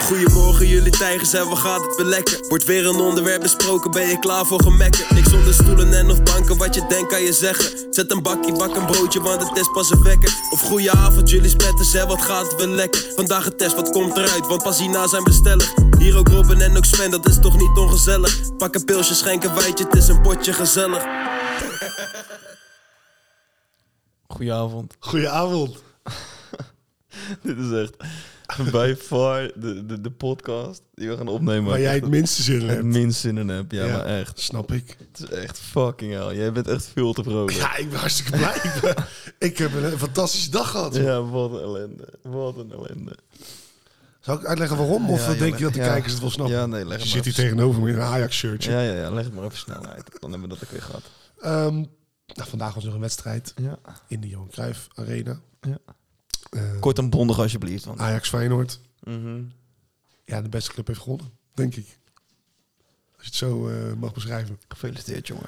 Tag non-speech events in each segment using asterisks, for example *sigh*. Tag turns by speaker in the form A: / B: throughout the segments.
A: Goedemorgen jullie tijgers en wat gaat het weer lekker? Wordt weer een onderwerp besproken, ben je klaar voor gemekken? Niks zonder stoelen en of banken, wat je denkt kan je zeggen Zet een bakje, bak een broodje, want het is pas een wekker Of goeie avond jullie spetters en wat gaat het weer lekker? Vandaag een test, wat komt eruit, want pas hierna zijn bestellig Hier ook Robin en ook Sven, dat is toch niet ongezellig? Pak een pilsje, schenk een wijtje, het is een potje gezellig
B: Goedenavond.
C: Goedenavond.
B: *laughs* Dit is echt by far de, de, de podcast die we gaan opnemen.
C: Waar jij het minste zin in
B: het
C: hebt.
B: minst zin in hebt. Ja, maar echt.
C: Snap ik.
B: Het is echt fucking hell. Jij bent echt veel te vrolijk. Ja,
C: Ja, ik ben hartstikke blij. ik, ben- ik heb een fantastische dag gehad.
B: wat een ellende. Wat een ellende.
C: Zal ik uitleggen waarom? Of eh,
B: Ja,
C: denk
B: ja,
C: je dat de
B: ja.
C: kijkers het wel snappen?
B: Ja, nee, leg het
C: je zit
B: maar
C: hier
B: even.
C: tegenover me in een Ajax-shirtje.
B: Ja, ja, ja. Leg het maar even snel uit. Dan hebben we dat ook weer gehad.
C: Ehm, nou, vandaag was nog een wedstrijd
B: Ja.
C: in de Johan Cruijff Arena.
B: ja.
C: Eh,
B: Kort en bondig alsjeblieft. Want...
C: Ajax Feyenoord.
B: Mhm.
C: Ja, de beste club heeft gewonnen, denk ik. Als je het zo eh, mag beschrijven.
B: Gefeliciteerd, jongen.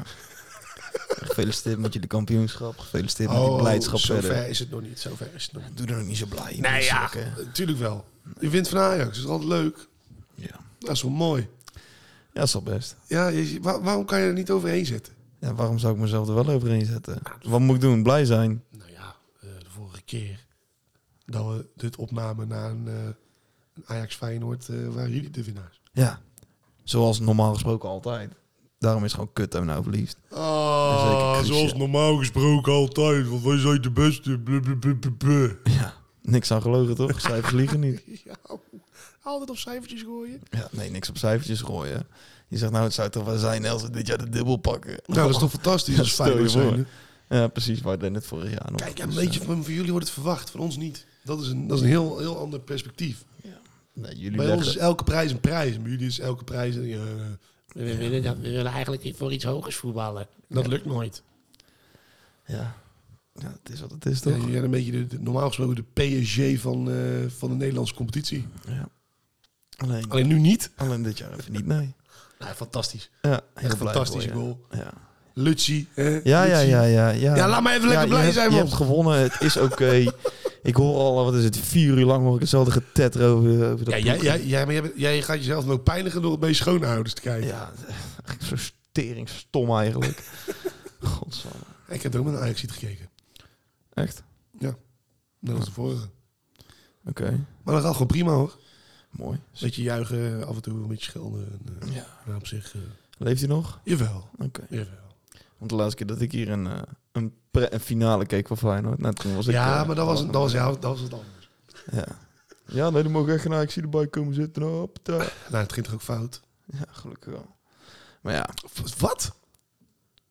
B: Gefeliciteerd met jullie kampioenschap. Gefeliciteerd
C: Oh,
B: met die blijdschap
C: zover
B: verder.
C: is het nog niet. Zover is het nog niet.
B: Doe er ook niet zo blij. in,
C: Nee, ja,
B: misselijk, hè.
C: natuurlijk wel. Je wint van Ajax, dat is altijd leuk.
B: Ja.
C: Dat is wel mooi.
B: Ja, is al best.
C: Ja, je- waar- waarom kan je er niet overheen zetten?
B: Ja, waarom zou ik mezelf er wel overheen zetten? Wat moet ik doen? Blij zijn.
C: Nou ja, eh, de vorige keer dat we dit opnamen na een, eh, een Ajax Feyenoord eh, waren jullie de winnaars.
B: Ja. Zoals normaal gesproken altijd. Daarom is het gewoon kut dat we nou verliest. Zeker,
C: Ah,
B: Guusje. zoals
C: normaal gesproken altijd, want wij zijn de beste.
B: Ja. Niks aan gelogen, toch? Cijfers liegen niet.
C: *laughs* Ja, altijd op cijfertjes gooien.
B: Ja, nee, niks op cijfertjes gooien. Je zegt nou, het zou toch wel zijn als we dit jaar de dubbel pakken.
C: Nou, dat is toch fantastisch
B: Ja,
C: als
B: stel je
C: Feyenoord
B: voor.
C: zijn. hè?
B: Ja, precies waar het net vorig jaar nog.
C: Kijk, ja,
B: Dus,
C: een beetje van, van jullie wordt het verwacht, van ons niet. Dat is een, dat is een heel, heel ander perspectief.
B: eh, nee, jullie
C: Bij ons is
B: leggen...
C: elke prijs een prijs. en Bij jullie is elke prijs een... eh,
D: We, we willen, dat- we willen eigenlijk voor iets hogers voetballen. Dat lukt nooit.
B: Ja. ja, het is wat het is,
C: Ja,
B: toch?
C: jullie zijn een beetje de, de- normaal gesproken de PSG van, eh, van de Nederlandse competitie.
B: Ja. Alleen,
C: Alleen nu niet.
B: alleen dit jaar even niet, nee.
C: Nou, fantastisch.
B: Ja,
C: Echt
B: heel
C: een
B: blij
C: fantastische
B: voor je.
C: goal.
B: Ja.
C: Lutsi. Hè?
B: Ja, ja,
C: Lutsi.
B: ja, ja, ja.
C: Ja, laat maar even lekker
B: je
C: blij
B: hebt-
C: zijn, man.
B: Je hebt gewonnen, het is oké. ik hoor al, wat is het, vier uur lang hoor ik hetzelfde getetter over, eh, over dat
C: Ja, jij,
B: ploegje.
C: jij, jij, maar jij, bent- jij gaat jezelf dan ook pijnigen door het bij je schoonouders te kijken.
B: Ja, echt zo steringstom
C: *laughs*
B: eigenlijk. Godsamme.
C: Ik heb er ook met een ajax gekeken.
B: Echt?
C: Net als de vorige.
B: Oké,
C: Maar dat gaat gewoon prima hoor.
B: mooi.
C: Een beetje juichen, af en toe een beetje schelden. En, eh,
B: Ja.
C: maar op zich... eh,
B: Leeft hij nog?
C: jawel.
B: Oké.
C: jawel.
B: Want de laatste keer dat ik hier een, eh, een, pre- een finale keek van Feyenoord, nou, toen was ik...
C: Ja,
B: eh,
C: maar dat was, dat, was, ja, dat was het anders.
B: Ja. Ja, nee, die mogen echt naar ik zie erbij komen zitten. Hop, daar.
C: Nou, het ging toch ook fout?
B: eh. Ja, gelukkig wel. Maar ja,
C: V- Wat?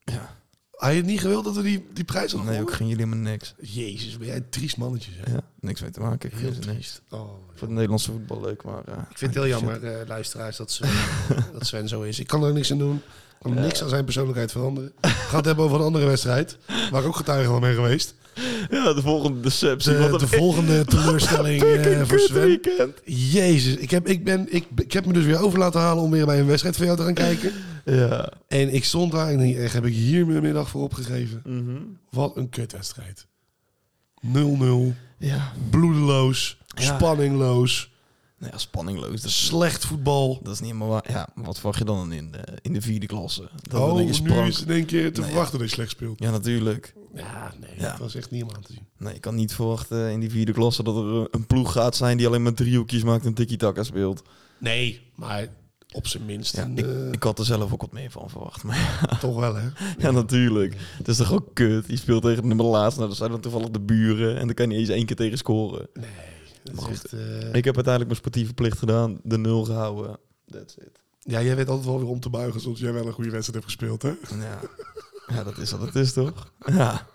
B: ja.
C: Had je het niet gewild dat we die, die prijs hadden
B: nee, ook
C: gewonnen?
B: geen jullie helemaal niks.
C: Jezus, ben jij een triest mannetje zeg.
B: Ja, niks mee te maken. Ik
C: Heel
B: vind ze niks.
C: triest. Oh,
B: Voor het Nederlandse voetbal leuk, maar... eh,
C: ik vind het heel
B: shit.
C: jammer, eh, luisteraars, dat, Sven, dat Sven zo is. Ik kan er niks aan doen. Ik kan niks aan zijn persoonlijkheid veranderen. We gaan het hebben over een andere wedstrijd. Waar ik ook getuige van ben geweest.
B: *laughs* Ja, de volgende deceptie.
C: De, de
B: *laughs*
C: volgende teleurstelling eh, voor Sven.
B: weekend.
C: Jezus, ik heb, ik, ben, ik, ik heb me dus weer over laten halen om weer bij een wedstrijd van jou te gaan kijken.
B: *laughs* Ja.
C: En ik stond daar en denk, echt, heb ik hier mijn middag voor opgegeven? Wat een kutwedstrijd. 0-0.
B: Ja.
C: bloedeloos,
B: Ja.
C: spanningloos,
B: Nou ja, spanningloos. Dat, is-
C: slecht voetbal.
B: dat is niet helemaal waar. Ja, maar wat verwacht je dan in de, in de vierde klasse? Dat
C: oh,
B: dan
C: nu
B: je sprank-
C: is het in één keer te
B: Nou ja.
C: verwachten dat je slecht speelt.
B: Ja, natuurlijk.
D: Ja, nee.
B: Ja.
C: Dat was echt niet om aan te zien.
B: Nee, je kan niet verwachten in die vierde klasse dat er eh, een ploeg gaat zijn die alleen maar driehoekjes maakt en tiki-taka speelt.
C: Nee, maar op zijn minst
B: Ja,
C: een, eh,
B: ik, ik had er zelf ook wat meer van verwacht. Maar *laughs* ja,
C: toch wel, hè?
B: ja, natuurlijk. Het is toch ook kut. Je speelt tegen de nummer laatst. Nou, dat zijn dan toevallig de buren. En dan kan je niet eens één keer tegen scoren.
C: Nee, dat is
B: goed,
C: echt, eh,
B: Ik heb uiteindelijk mijn sportieve plicht gedaan. De nul gehouden. That's it.
C: Ja, jij weet altijd wel weer om te buigen, zodat jij wel een goede wedstrijd hebt gespeeld, hè?
B: *laughs* Ja. ja, dat is wat het is, toch? Ja.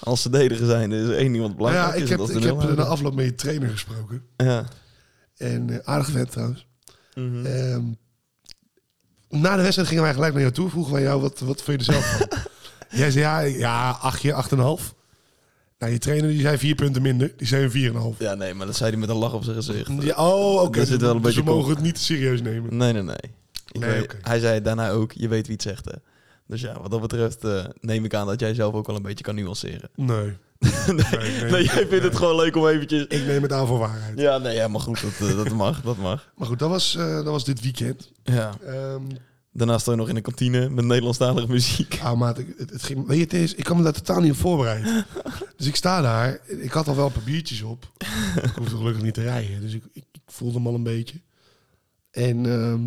B: Als ze dediger zijn, er is één iemand
C: Nou
B: belangrijk.
C: ja, ik
B: is
C: heb,
B: het als
C: ik
B: de
C: heb
B: nul
C: na
B: houden.
C: afloop met je trainer gesproken.
B: Ja.
C: En eh, aardig vent trouwens.
B: Mhm.
C: Ehm, na de wedstrijd gingen wij gelijk naar jou toe. Vroegen wij jou, wat, wat vond je er
B: *laughs*
C: zelf van? Jij zei, ja, ja achtje, acht en een half. Nou, je trainer die zei vier punten minder. Die zei een vier en een half.
B: ja, nee, maar dat zei hij met een lach op zijn gezicht.
C: Ja, oh, oké.
B: Daar zit wel een
C: Ze
B: beetje
C: mogen het niet serieus nemen.
B: Nee, nee, nee. Ik
C: Nee,
B: weet-
C: oké.
B: Hij zei daarna ook, je weet wie het zegt, hè. Dus ja, wat dat betreft eh, neem ik aan dat jij zelf ook wel een beetje kan nuanceren. *laughs*
C: Nee.
B: nee,
C: nee,
B: *laughs* nee, jij
C: nee.
B: vindt het gewoon leuk om eventjes...
C: Ik neem het aan voor waarheid.
B: Ja, nee, ja, maar goed, dat, eh, dat mag, dat mag.
C: Maar goed, dat was, eh, dat was dit weekend.
B: Ja.
C: Ehm
B: Daarnaast sta je nog in de kantine met Nederlandstalige muziek. *laughs*
C: ah, maat, ik- het, het ging, weet je, het is, ik kan me daar totaal niet op
B: *laughs*
C: voorbereiden. Dus ik sta daar. Ik had al wel een paar biertjes op. Ik hoefde gelukkig niet te rijden. Dus ik, ik, ik voelde hem al een beetje. En ehm,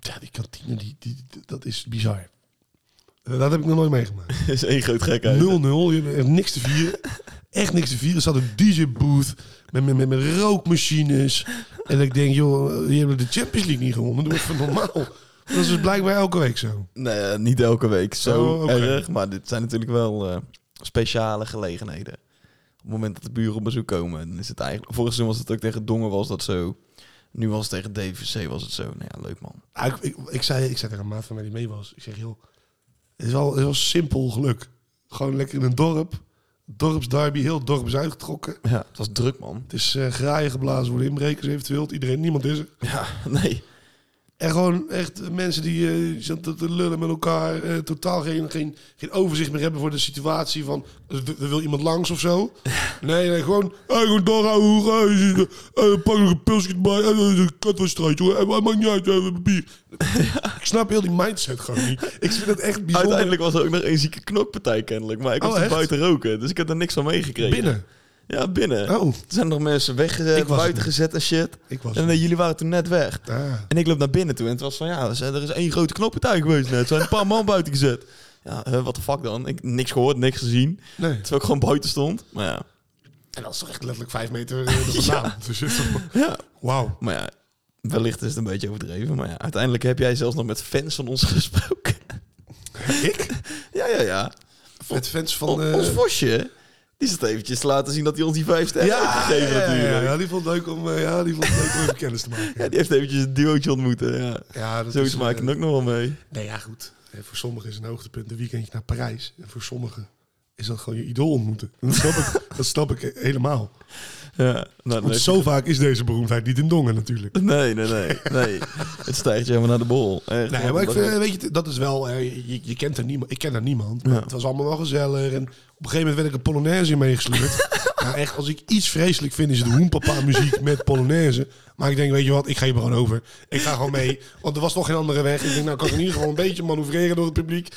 C: ja, die kantine, die, die, dat is bizar. Eh, Dat heb ik nog nooit meegemaakt.
B: Dat is één groot gekheid.
C: 0-0. Je hebt echt niks te vieren. Echt niks te vieren. Er zat een DJ-booth met, met, met, met rookmachines. En ik denk, joh, die hebben de Champions League niet gewonnen. Doe even normaal. Dat is dus blijkbaar elke week zo.
B: Nee, eh, niet elke week zo
C: Oh, oké.
B: erg. Maar dit zijn natuurlijk wel eh, speciale gelegenheden. Op het moment dat de buren op bezoek komen, dan is het eigenlijk... Vorig seizoen was het ook tegen Dongen was dat zo. Nu was het tegen DVC was het zo. Nou ja, leuk man.
C: Ah, Ik, ik, ik zei, ik zei tegen een maat van mij die mee was. Ik zeg, joh, het is wel, het is wel simpel geluk. Gewoon lekker in een dorp. Dorpsderby, heel het dorp is uitgetrokken.
B: Ja, het was druk man.
C: Het is eh graaien geblazen worden, inbrekers eventueel. Iedereen, niemand is er.
B: Ja, *laughs* nee.
C: En gewoon echt mensen die eh, zitten te lullen met elkaar. eh, totaal geen, geen, geen overzicht meer hebben voor de situatie van... eh, d- Er wil iemand langs of
B: *laughs*
C: zo. Nee, nee, gewoon... Hey, gewoon doorhouden. hoe ga je? Eh, pak nog een pilsje bij. En eh, een katwedstrijd, jongen. Eh, maar Maakt niet uit, eh, bier.
B: *laughs*
C: Ik snap heel die mindset gewoon niet. Ik vind het echt bijzonder.
B: Uiteindelijk was er ook nog een zieke knokpartij kennelijk. Maar ik
C: Oh,
B: was toen
C: echt?
B: buiten roken, dus ik heb er niks van meegekregen.
C: Binnen.
B: Ja, binnen.
C: Oh,
B: Er zijn nog mensen weggezet,
C: Ik was het
B: buiten
C: niet.
B: gezet en shit.
C: ik was...
B: En
C: er.
B: eh, jullie waren toen net weg.
C: Ah.
B: En ik loop naar binnen toe en het was van ja, er zijn- er is één grote knoppartij geweest net. Er zijn een paar man buiten gezet. Ja, eh, wat de fuck dan? Ik niks gehoord, niks gezien.
C: Nee.
B: Terwijl ik gewoon buiten stond. Maar ja,
C: En dat is toch echt letterlijk vijf meter eh,
B: *laughs*
C: er
B: Ja.
C: vandaan. Dus, het-
B: ja.
C: Wauw.
B: Maar ja, wellicht is het een beetje overdreven. Maar ja, uiteindelijk heb jij zelfs nog met fans van ons *laughs* gesproken.
C: Ik?
B: ja, ja, ja.
C: Met fans van...
B: O-
C: eh,
B: ons Vosje, die zit eventjes te laten zien dat hij ons die vijf sterren heeft gegeven natuurlijk.
C: Ja,
B: Ja,
C: ja, die vond het leuk om, eh, ja, die vond het leuk om even kennis te maken.
B: die heeft eventjes een duootje ontmoeten. Ja.
C: Ja, dat
B: Zoiets
C: is,
B: maak ik
C: eh,
B: het ook nog wel mee.
C: Nee, ja, goed. Eh, Voor sommigen is een hoogtepunt een weekendje naar Parijs. En voor sommigen is dat gewoon je idool ontmoeten. Dat snap ik, *laughs* dat snap ik eh, helemaal.
B: Ja, nou,
C: Want
B: leuk.
C: zo vaak is deze beroemdheid niet in Dongen natuurlijk.
B: Nee, nee, nee.
C: *laughs*
B: nee. het stijgt je helemaal naar de bol. Echt,
C: Nee,
B: man,
C: maar ik
B: dat-
C: vind, eh, weet je, dat is wel... eh, Je, je kent er niemand. Ik ken er niemand. maar
B: Ja.
C: Het was allemaal wel gezellig. En op een gegeven moment werd ik een Polonaise in meegesleurd.
B: *laughs*
C: nou, echt, als ik iets vreselijk vind, is het hoenpapa-muziek met Polonaise. Maar ik denk, weet je wat, ik geef er gewoon over. Ik ga gewoon mee. Want er was nog geen andere weg. Ik denk, nou kan ik in ieder geval een beetje manoeuvreren door het publiek.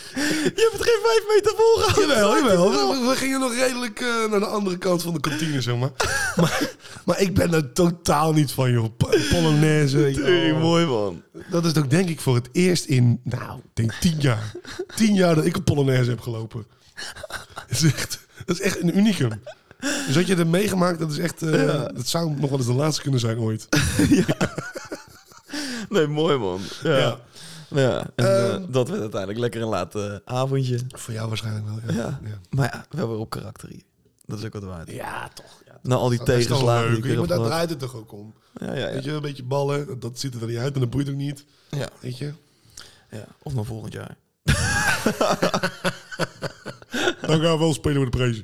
B: Je hebt er geen vijf meter vol gehad.
C: Jawel, jawel. We, we gingen nog redelijk eh, naar de andere kant van de kantine, zeg maar. maar. Maar ik ben er totaal niet van, joh. Po- Polonaise. weet je wel.
B: Tering, mooi man.
C: Dat is ook denk ik voor het eerst in, nou, ik denk tien jaar. Tien jaar dat ik een Polonaise heb gelopen. Dat is echt, dat is echt een unicum. Dus wat je hebt meegemaakt, dat is echt... eh, Dat zou nog wel eens de laatste kunnen zijn ooit.
B: Nee, mooi man. Ja.
C: Ja. Ehm.
B: ja. en eh, dat werd uiteindelijk lekker een late avondje.
C: Voor jou waarschijnlijk wel, ja. Nou,
B: Ja.
C: Ja.
B: Maar ja, wel weer op karakter hier. Dat is ook wat waard.
D: Ja, toch. Ja.
B: Na al die
C: Dat is toch
B: tegenslagen die
C: leuk.
B: ik weer
C: Maar
B: heb
C: daar
B: gehad.
C: draait het toch ook om.
B: Ja, ja, ja.
C: Weet je, een beetje ballen. Dat ziet er dan niet uit en dat boeit ook niet.
B: ja,
C: Weet je?
B: ja. Of naar volgend jaar.
C: Dan gaan we wel spelen met de prijzen.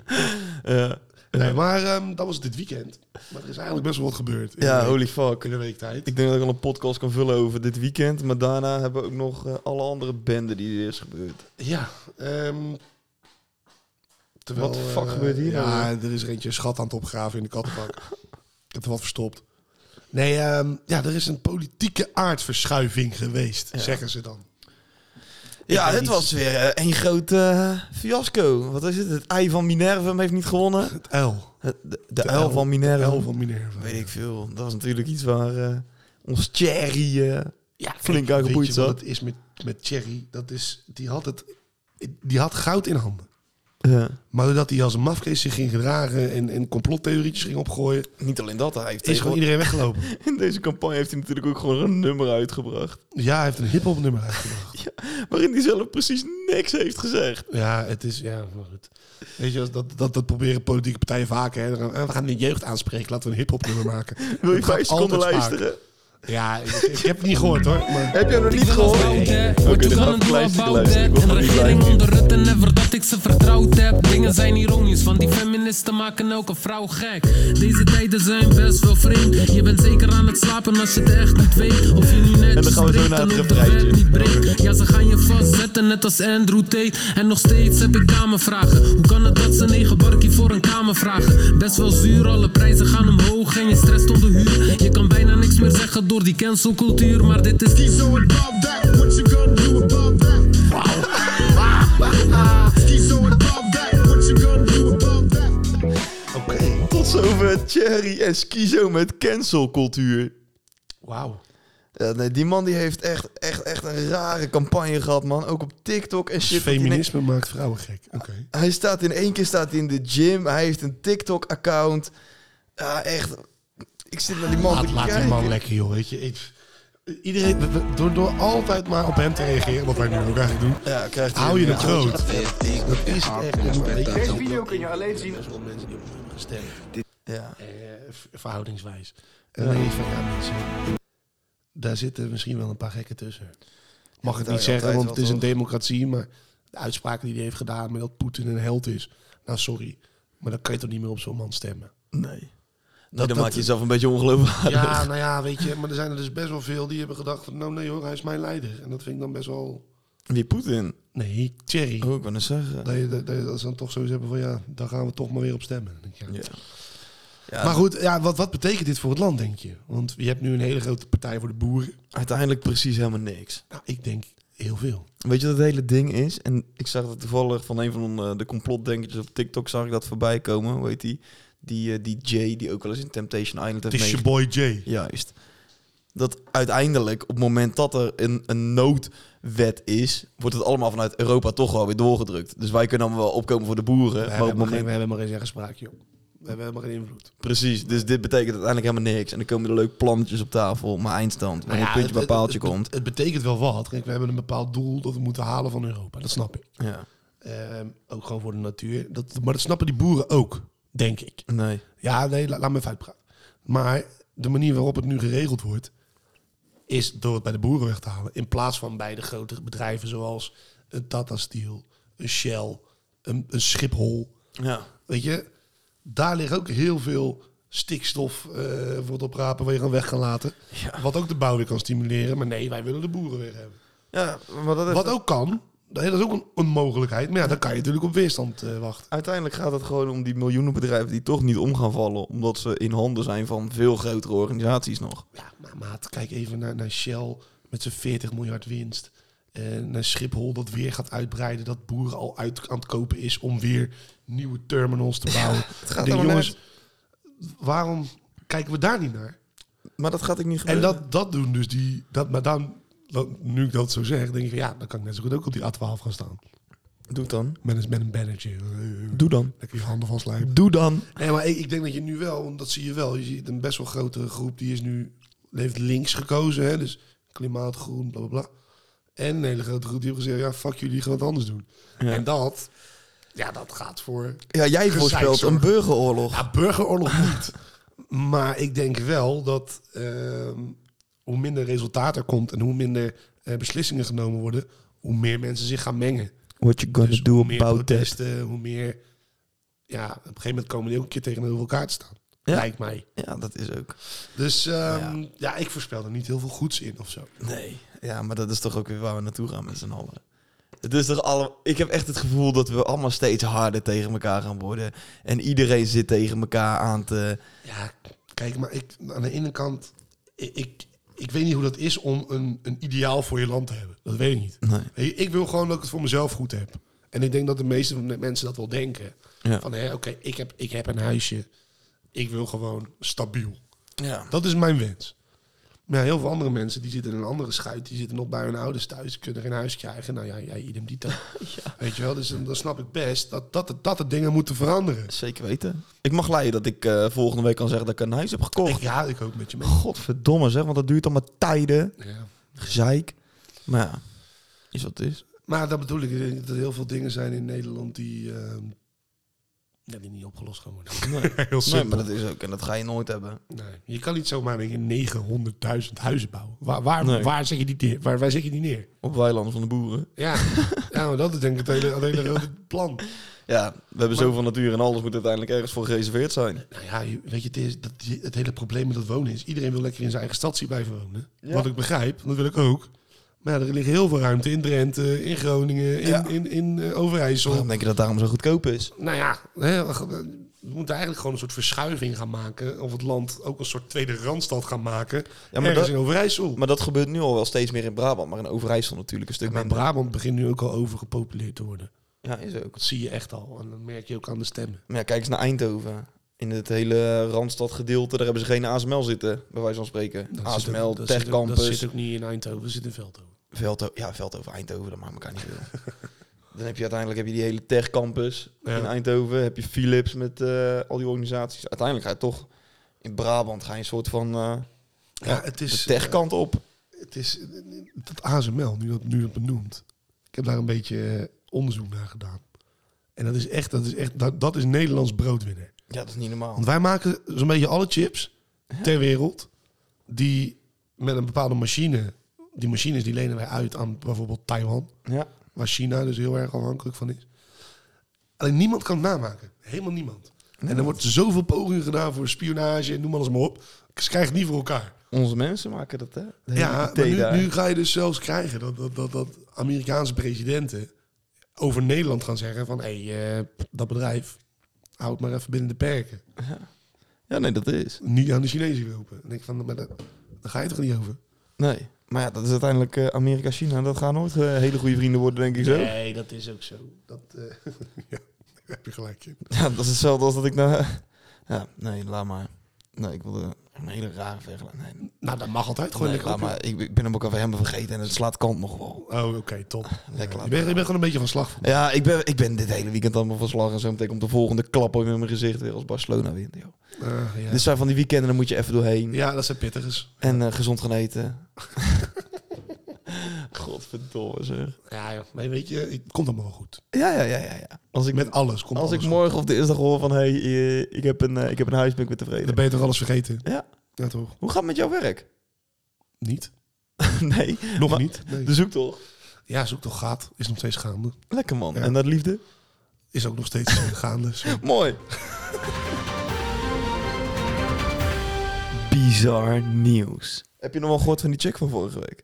B: Ja.
C: Nee, maar ehm, dat was dit weekend. Maar er is eigenlijk best wel wat gebeurd. In de
B: ja,
C: week-
B: holy fuck.
C: In de week tijd.
B: Ik denk dat ik al een podcast kan vullen over dit weekend. Maar daarna hebben we ook nog eh, alle andere benden die er is gebeurd.
C: Ja. ehm, terwijl,
B: Wat de fuck
C: eh,
B: gebeurt hier nou
C: Ja, er is er eentje een schat aan het opgraven in de kattenbak. Ik heb er wat verstopt. Nee, ehm, ja, er is een politieke aardverschuiving geweest, zeggen ze dan.
B: Ja,
C: weet
B: dit
C: niet.
B: was weer eh, een groot eh, fiasco. Wat is het? Het ei van Minerva heeft niet *laughs* gewonnen.
C: Het L.
B: Het- De, de, uil van Minerva.
C: L van Minerva.
B: Weet ik veel. Dat is natuurlijk iets waar eh, ons Thierry eh,
D: Ja,
B: flink aan
C: Weet je
B: geboeid
C: wat
B: zat.
C: het is met, met Thierry? Dat is, die had het, die had goud in handen.
B: Ja.
C: Maar doordat hij als een mafkees zich ging gedragen en, en complottheorietjes ging opgooien,
B: Niet alleen dat, hij heeft
C: is gewoon
B: tegenwoordig-
C: iedereen weggelopen.
B: *laughs* in deze campagne heeft hij natuurlijk ook gewoon een nummer uitgebracht.
C: Ja, hij heeft een hip-hop nummer uitgebracht.
B: Waarin hij zelf precies niks heeft gezegd.
C: Ja, het is, ja, maar goed. Weet je, als dat, dat, dat proberen politieke *laughs* partijen vaker. Hè. Dan gaan, eh, we gaan de jeugd aanspreken, laten we een hip-hop nummer maken.
B: Wil je
C: Dat gaat
B: vijf seconden
C: altijd
B: luisteren?
C: vaak. Ja, ik, ik heb het niet gehoord hoor. Maar
B: Heb je hem nog niet gehoord?
E: Wordt
B: dan
E: er
B: ga ik
E: een
B: een klein stukje luisteren. Ik
E: En
B: word gewoon
E: de
B: niet
E: regering
B: blij.
E: onder Rutte never dat ik ze vertrouwd heb. Dingen zijn ironisch, want die feministen maken elke vrouw gek. Deze tijden zijn best wel vreemd. Je bent zeker aan het slapen als je het echt niet weet. Of je nu net
B: En dan gaan we zo naar het refreintje.
E: niet breekt. Ja, ze gaan je vastzetten, net als Andrew Tate. En nog steeds heb ik kamervragen. Hoe kan het dat ze negen barkie voor een kamer vragen? Best wel zuur, alle prijzen gaan omhoog en je stress onder huur. Je kan bijna niks meer zeggen door die cancelcultuur, maar dit is die
F: Schizo above that, what you gonna do above that? Wow. Schizo above that, what you gonna do above that?
B: Tot zover Cherry en Schizo met cancelcultuur.
C: wauw.
B: Ja, nee, die man die heeft echt, echt, echt een rare campagne gehad, man. Ook op TikTok en shit. dat hij denkt-
C: Feminisme maakt vrouwen gek. Oké.
B: Hij staat in één keer staat hij in de gym. Hij heeft een TikTok-account. Ja, echt. Ik zit naar die man
C: Laat,
B: te
C: laat die
B: kijken.
C: man lekker, joh. Weet je, ik, iedereen, we- we- door, door altijd maar op hem te reageren, wat wij nu ook eigenlijk doen,
B: Ja, krijgt hij
C: hou je
B: een-
C: het groot. Dat is echt een beetje
G: video kun je alleen zien.
C: mensen die op hem hebben gestemd,
B: Ja.
C: eh, v- verhoudingswijs. En dan denk je van, ja mensen, daar zitten misschien wel een paar gekken tussen. Mag het
B: daar
C: niet
B: je
C: zeggen,
B: altijd
C: want
B: wel,
C: het is een
B: toch?
C: democratie, maar de uitspraken die hij heeft gedaan met dat Poetin een held is, nou sorry, maar dan kan je toch niet meer op zo'n man stemmen.
B: Nee. Dat,
C: dat-
B: dan maak je jezelf een beetje ongeloofwaardig.
C: *laughs* Ja, nou ja, weet je, maar er zijn er dus best wel veel die hebben gedacht, nou nee hoor, hij is mijn leider. En dat vind ik dan best wel...
B: Wie Poetin?
C: Nee, Thierry.
B: Oh, ik wou net zeggen.
C: Dat, je, dat, dat je- dat ze dan toch zoiets hebben van, ja, daar gaan we toch maar weer op stemmen. Dan denk je, ja.
B: Ja. Ja,
C: Maar goed, ja, wat, wat betekent dit voor het land, denk je? Want je hebt nu een hele grote partij voor de boeren.
B: uiteindelijk precies helemaal niks.
C: Nou, ik denk heel veel.
B: Weet je wat het hele ding is? En ik zag dat toevallig van een van eh, de complotdenkertjes op TikTok zag ik dat voorbij komen. Hoe heet die? Die, eh, die Jay, die ook wel eens in Temptation Island heeft meege-
C: boy Jay.
B: Juist. Dat uiteindelijk, op het moment dat er een, een noodwet is, wordt het allemaal vanuit Europa toch wel weer doorgedrukt. Dus wij kunnen dan wel opkomen voor de boeren.
C: We
B: maar
C: hebben,
B: op het
C: helemaal geen,
B: moment...
C: we hebben helemaal geen zeggespraak, joh. We hebben helemaal geen invloed.
B: Precies, dus dit betekent uiteindelijk helemaal niks. En dan komen er leuke plannetjes op tafel, maar eindstand. Wanneer
C: ja,
B: puntje bij
C: het-
B: paaltje
C: het- het-
B: komt.
C: Het, betekent wel wat. Kijk, we hebben een bepaald doel dat we moeten halen van Europa. Dat snap ik.
B: Ja,
C: Ehm, ook gewoon voor de natuur. Dat, maar dat snappen die boeren ook, denk ik.
B: nee.
C: Ja, nee, la- laat me even uitpraten. Maar de manier waarop het nu geregeld wordt, is door het bij de boeren weg te halen. In plaats van bij de grotere bedrijven zoals een Tata Steel, een Shell, een, een Schiphol.
B: Ja.
C: Weet je, daar ligt ook heel veel stikstof eh voor het oprapen waar je gewoon weg kan laten.
B: Ja.
C: Wat ook de bouw weer kan stimuleren. Maar nee, wij willen de boeren weer hebben.
B: ja, maar dat is...
C: Wat ook kan, dat is ook een, een mogelijkheid. Maar ja, dan kan je natuurlijk op weerstand eh, wachten.
B: Uiteindelijk gaat het gewoon om die miljoenen bedrijven die toch niet om gaan vallen. Omdat ze in handen zijn van veel grotere organisaties nog.
C: Ja, maar maat, kijk even naar, naar Shell met zijn 40 miljard winst. En naar Schiphol dat weer gaat uitbreiden. Dat boeren al uit aan het kopen is om weer nieuwe terminals te bouwen. het
B: gaat allemaal
C: waarom kijken we daar niet naar?
B: Maar dat gaat ik niet
C: En
B: gebeuren.
C: dat, dat doen dus die... Dat, maar dan, dan- nu ik dat zo zeg, denk ik van ja, dan kan ik net zo goed ook op die A12 gaan staan.
B: Doe het dan.
C: Met een, met een bannertje.
B: Doe dan.
C: Lekker je handen vastlijpen.
B: Doe dan.
C: Nee, maar ik, ik denk dat je nu wel, want dat zie je wel. Je ziet een best wel grote groep die is nu heeft links gekozen, hè? Dus klimaat, groen, bla bla bla. En een hele grote groep die heeft gezegd: ja, fuck jullie, gaan wat anders doen. En dat, ja, dat gaat voor.
B: Ja, jij
C: Gezeik
B: voorspelt
C: zorgen.
B: een burgeroorlog.
C: Ja, burgeroorlog niet. *laughs* maar ik denk wel dat ehm, hoe minder resultaat er komt en hoe minder eh, beslissingen genomen worden, hoe meer mensen zich gaan mengen.
B: What you gonna
C: Dus
B: do
C: hoe meer
B: about that?
C: protesten, hoe meer. Ja, op een gegeven moment komen die ook een keer tegenover elkaar te staan.
B: Ja.
C: Lijkt mij.
B: Ja, dat is ook.
C: Dus ehm, ja. ik voorspel er niet heel veel goeds in of zo.
B: Nee. Ja, maar dat is toch ook weer waar we naartoe gaan met z'n allen. Het is toch alle... Ik heb echt het gevoel dat we allemaal steeds harder tegen elkaar gaan worden. En iedereen zit tegen elkaar aan te...
C: Ja, kijk, maar ik, aan de ene kant, ik, ik, ik weet niet hoe dat is om een, een ideaal voor je land te hebben. Dat weet ik niet.
B: Nee.
C: Hey, Ik wil gewoon dat ik het voor mezelf goed heb. En ik denk dat de meeste van de mensen dat wel denken.
B: Ja.
C: Van, hé, oké, ik, heb, ik heb een huisje. Ik wil gewoon stabiel.
B: Ja.
C: Dat is mijn wens. Maar ja, heel veel andere mensen die zitten in een andere schuit. Die zitten nog bij hun ouders thuis. Die kunnen geen huis krijgen. Nou ja, ja idem dito.
B: *laughs*
C: Weet je wel, dus dan, dan snap ik best dat, dat, het- dat de dingen moeten veranderen.
B: Zeker weten. Ik mag leiden dat ik eh, volgende week kan zeggen dat ik een huis heb gekocht.
C: Ik, ja, ik ook met je mee.
B: Godverdomme zeg, want dat duurt allemaal tijden.
C: Ja.
B: Gezeik. Maar ja, is wat het is.
C: Maar dat bedoel ik, ik denk dat er heel veel dingen zijn in Nederland die, ehm, dat die niet opgelost kan worden.
B: Heel Nee,
C: simpel.
B: maar dat is ook. En dat ga je nooit hebben.
C: Nee, je kan niet zomaar in één keer 900.000 huizen bouwen. Waar, waar,
B: Nee.
C: waar, zeg je die neer? Waar, waar zeg je die neer?
B: Op weilanden van de boeren. *laughs*
C: Ja, ja maar dat is denk ik het hele, het hele grote plan.
B: Ja, we hebben zoveel natuur en alles moet uiteindelijk ergens voor gereserveerd zijn.
C: Nou ja, je- weet je, het, is, dat, het hele probleem met dat wonen is... iedereen wil lekker in zijn eigen stadje blijven wonen. Wat ik begrijp, dat wil ik ook. Maar ja, er ligt heel veel ruimte in Drenthe, in Groningen, in,
B: Ja.
C: in, in, eh, Overijssel.
B: Waarom denk je dat daarom zo goedkoop is?
C: Nou ja, hè, we we moeten eigenlijk gewoon een soort verschuiving gaan maken... of het land ook een soort tweede randstad gaan maken. Ja, maar
B: dat-
C: in Overijssel.
B: Maar dat gebeurt nu al wel steeds meer in Brabant. Maar in Overijssel natuurlijk een stuk
C: Maar
B: minder.
C: Brabant begint nu ook al overgepopuleerd te worden.
B: Ja, is ook.
C: Dat zie je echt al. En dat merk je ook aan de stemmen.
B: Maar ja, kijk eens naar Eindhoven. In het hele Randstadgedeelte, daar hebben ze geen ASML zitten, bij wijze van spreken. ASML,
C: dat zit ook- Dat
B: Techcampus,
C: zit ook niet in Eindhoven, dat zit in Veldhoven.
B: Veldhoven. Ja, Veldhoven, Eindhoven, dat maakt elkaar niet veel. *laughs* Dan heb je uiteindelijk heb je die hele Techcampus in
C: Ja.
B: Eindhoven. Heb je Philips met eh, al die organisaties. Uiteindelijk ga je toch in Brabant ga je een soort van eh
C: Ja, het
B: de
C: is...
B: techkant op.
C: Het is dat ASML, nu dat, nu dat benoemd. Ik heb daar een beetje eh, onderzoek naar gedaan. En dat is echt, dat is echt, dat, dat is Nederlands broodwinner.
B: Ja, dat is niet normaal.
C: Want wij maken zo'n beetje alle chips ter wereld. Die met een bepaalde machine. Die machines die lenen wij uit aan bijvoorbeeld Taiwan.
B: Ja.
C: Waar China dus heel erg afhankelijk van is. Alleen niemand kan het namaken. Helemaal niemand. En er wordt zoveel pogingen gedaan voor spionage en noem alles maar op. Ze krijgen het niet voor elkaar.
B: Onze mensen maken dat, hè? De hele
C: Ja,
B: IT
C: maar nu,
B: daar.
C: nu ga je dus zelfs krijgen dat, dat, dat, dat Amerikaanse presidenten over Nederland gaan zeggen van... hé, hey, eh, dat bedrijf, houd maar even binnen de perken.
B: Ja, nee, dat is.
C: Niet aan de Chinezen lopen. Dan denk ik van, maar dat, daar ga je toch niet over?
B: Nee. Maar ja, dat is uiteindelijk eh, Amerika-China. Dat gaan nooit eh, hele goede vrienden worden, denk ik zo.
C: Nee, dat is ook zo. Dat, eh, *laughs* ja, daar heb je gelijk in.
B: Ja, dat is hetzelfde als dat ik naar... Ja, nee, laat maar. Nee, ik wilde een hele rare vergelijking. Nee,
C: Nou, dat mag altijd gewoon
B: nee,
C: lekker
B: laat
C: op,
B: maar. Ik, ik ben hem ook even helemaal vergeten en het slaat kant nog wel.
C: joh. Oh, oké, top.
B: *laughs* Lekker
C: Ik
B: laten.
C: ben, ik ben gewoon een beetje van slag.
B: Ja, ik ben, ik ben dit hele weekend allemaal van slag en zo meteen komt de volgende klap ook in mijn gezicht weer als Barcelona wint. Joh.
C: Ah, ja.
B: Dit zijn van die weekenden, dan moet je even doorheen
C: ja, dat zijn pittigers.
B: en eh, gezond gaan eten. *laughs* Godverdomme zeg.
C: Ja, joh. Maar weet je, het komt allemaal wel goed.
B: Ja, ja, ja, ja. ja. Als ik,
C: Met alles komt
B: als ik
C: alles
B: morgen of dinsdag hoor van, hé, hey, eh, ik, heb een, eh, ik heb een huis, ben ik weer
C: goed. Dan
B: tevreden.
C: ben je toch alles vergeten?
B: Ja.
C: Ja, toch?
B: Hoe gaat het met jouw werk?
C: Niet?
B: *laughs* nee.
C: Nog
B: maar Dus
C: niet? Nee.
B: De zoektocht.
C: Ja, zoek toch gaat. Is nog steeds gaande.
B: Lekker man.
C: Ja.
B: En dat liefde?
C: Is ook nog steeds eh, gaande. zo.
B: Mooi. Bizar nieuws. Heb je nog wel gehoord van die chick van vorige week?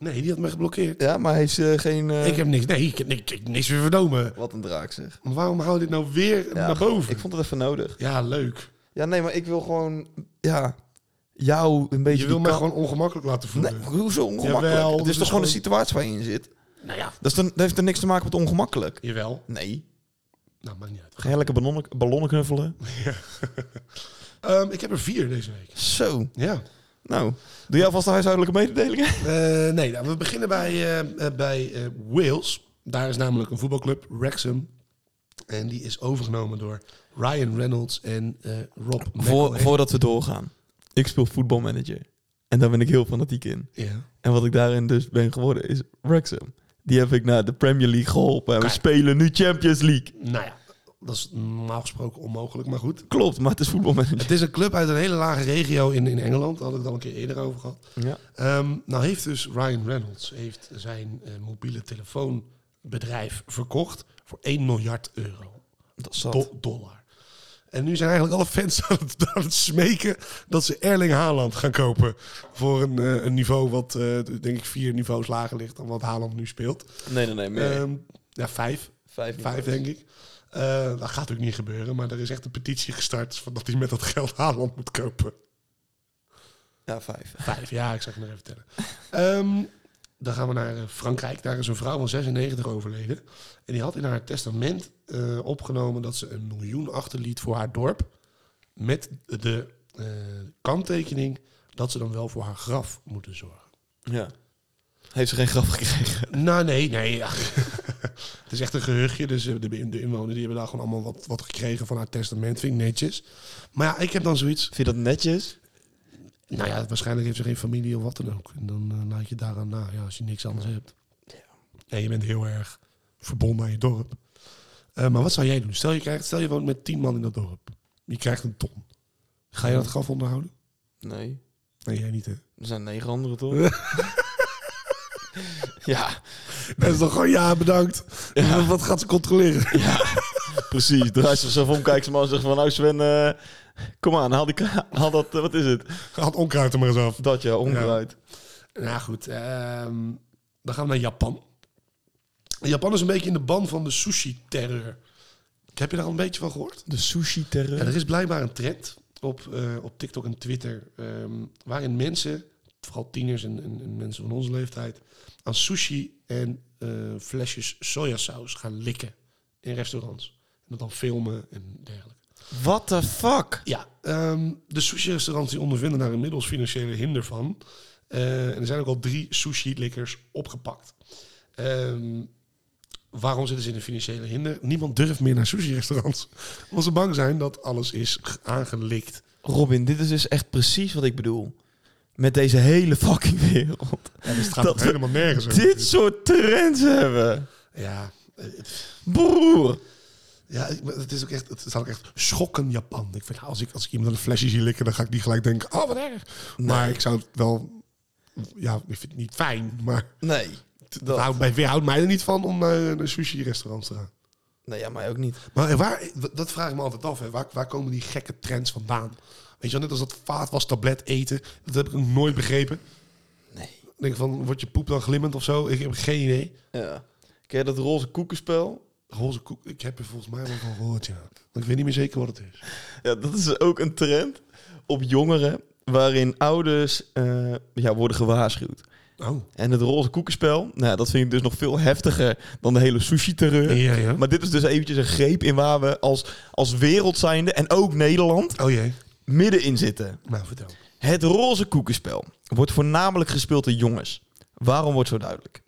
C: Nee, die had mij geblokkeerd.
B: Ja, maar heeft ze geen... eh,
C: Ik heb niks. Nee, ik heb niks, ik heb niks weer vernomen.
B: Wat een draak zeg.
C: Maar waarom hou je dit nou weer
B: Ja,
C: naar boven?
B: Ik vond het even nodig.
C: Ja, leuk.
B: Ja, nee, maar ik wil gewoon... Ja, jou een beetje...
C: Je wil
B: die
C: mij
B: kan-
C: gewoon ongemakkelijk laten voelen.
B: Nee, hoezo ongemakkelijk?
C: Jawel,
B: het
C: dat
B: is
C: is
B: toch gewoon de
C: gewoon-
B: situatie waar je in zit?
C: Nou ja,
B: Dat, is dan, dat heeft er niks te maken met ongemakkelijk.
C: jawel.
B: Nee.
C: Nou, maakt niet uit.
B: Ga je lekker ballonnen, ballonnen knuffelen?
C: Ehm, ik heb er vier deze week.
B: Zo.
C: Ja.
B: Nou, doe jij alvast de huishoudelijke mededelingen?
C: Eh, nee, nou, we beginnen bij, eh, eh, bij eh, Wales. Daar is namelijk een voetbalclub, Wrexham. En die is overgenomen door Ryan Reynolds en eh, Rob McElhenney.
B: voordat we doorgaan. Ik speel voetbalmanager. En daar ben ik heel fanatiek in.
C: Ja.
B: En wat ik daarin dus ben geworden is Wrexham. Die heb ik naar de Premier League geholpen. En we spelen nu Champions League.
C: Nou ja, dat is normaal gesproken onmogelijk, maar goed.
B: Klopt, maar het is voetbalmanager.
C: Het is een club uit een hele lage regio in, in Engeland. Daar had ik het al een keer eerder over gehad.
B: Ja.
C: Ehm, nou heeft dus Ryan Reynolds heeft zijn eh, mobiele telefoonbedrijf verkocht voor 1 miljard euro.
B: Dat is zat.
C: Do- dollar. En nu zijn eigenlijk alle fans *laughs* aan het, aan het smeken dat ze Erling Haaland gaan kopen. Voor een, eh, een niveau wat, eh, denk ik, vier niveaus lager ligt dan wat Haaland nu speelt.
B: Nee, nee, nee. meer.
C: Ehm, ja, vijf.
B: Eh, Vijf
C: Vijf,
B: niveaus.
C: denk ik. Eh, dat gaat natuurlijk niet gebeuren, maar er is echt een petitie gestart van dat hij met dat geld Haaland moet kopen.
B: Ja, vijf.
C: Vijf, ja, ik zal het nog even vertellen. Ehm, dan gaan we naar eh, Frankrijk. Daar is een vrouw van 96 overleden. En die had in haar testament eh, opgenomen dat ze een miljoen achterliet voor haar dorp. Met de eh, kanttekening dat ze dan wel voor haar graf moeten zorgen.
B: Ja. Heeft ze geen graf gekregen?
C: Nou, nee, nee. ja. *laughs* het is echt een gehuchtje. Dus eh, de, de inwoners die hebben daar gewoon allemaal wat, wat gekregen van haar testament. Vind ik netjes. Maar ja, ik heb dan zoiets.
B: Vind je dat netjes?
C: Nou ja, waarschijnlijk heeft ze geen familie of wat dan ook. En dan eh, laat je daaraan na, ja, als je niks anders hebt. Nee, je bent heel erg verbonden aan je dorp. Ehm, Eh, maar wat zou jij doen? Stel je, krijgt, stel je woont met tien man in dat dorp. Je krijgt een ton. Ga je dat graf onderhouden?
B: Nee.
C: Nee, jij niet hè?
B: Er zijn negen anderen, *laughs* toch? ja,
C: Dat is dan gewoon ja, bedankt. Wat- Wat gaat ze *laughs* controleren?
B: precies. Draai ze zelf om, kijk ze maar en zegt van... Nou Sven, eh, kom aan, haal, die, ka- haal dat... eh, wat is het?
C: Gaat onkruid er maar eens af.
B: Dat ja, omgedraaid.
C: Nou goed, ehm, dan gaan we naar Japan. Japan is een beetje in de ban van de sushi-terreur. Heb je daar al een beetje van gehoord?
B: De sushi-terreur.
C: Ja, er is blijkbaar een trend op, eh, op TikTok en Twitter... ehm, waarin mensen, vooral tieners en, en, en mensen van onze leeftijd... aan sushi en eh, flesjes sojasaus gaan likken in restaurants. En dat dan filmen en dergelijke.
B: What the fuck?
C: Ja, ehm, de sushi-restaurants die ondervinden daar inmiddels financiële hinder van. Eh, en er zijn ook al drie sushi-likkers opgepakt. Ehm, waarom zitten ze in de financiële hinder? Niemand durft meer naar sushi-restaurants. Omdat ze bang zijn dat alles is g- aangelikt.
B: Robin, dit is dus echt precies wat ik bedoel. Met deze hele fucking wereld.
C: dat
B: gaat
C: gaat
B: nog
C: helemaal nergens
B: Dit soort trends hebben.
C: Ja, eh, het-
B: Broer.
C: ja, ik- maar het is ook echt, het staat ook echt schokken Japan. Ik vind, als, ik, als ik iemand een flesje zie likken, dan ga ik niet gelijk denken, oh wat erg. Maar ik zou het wel, ja, ik vind het niet fijn, maar...
B: Nee.
C: Dat
B: Dat,
C: houdt mij, weerhoudt mij er niet van om eh, naar een sushi-restaurant te gaan.
B: nee, ja, mij ook niet.
C: Maar waar, dat vraag ik me altijd af. Hè. Waar, waar komen die gekke trends vandaan? Weet je wel, net als dat vaatwastablet eten. Dat heb ik nog nooit begrepen.
B: Nee.
C: Ik denk van, wordt je poep dan glimmend of zo? Ik heb geen idee.
B: Ja. Ken je dat roze koekenspel?
C: Roze koek, ik heb er volgens mij wel van gehoord, ja. Maar ik weet niet meer zeker wat het is.
B: Ja, dat is ook een trend op jongeren waarin ouders eh, ja, worden gewaarschuwd.
C: Oh.
B: En het roze koekenspel, nou, ja, dat vind ik dus nog veel heftiger dan de hele sushi-terreur.
C: Ja, ja.
B: Maar dit is dus eventjes een greep in waar we als, als wereld zijnde en ook Nederland
C: Oh jee.
B: middenin zitten.
C: Nou, vertel.
B: Het roze koekenspel wordt voornamelijk gespeeld door jongens. Waarom wordt zo duidelijk?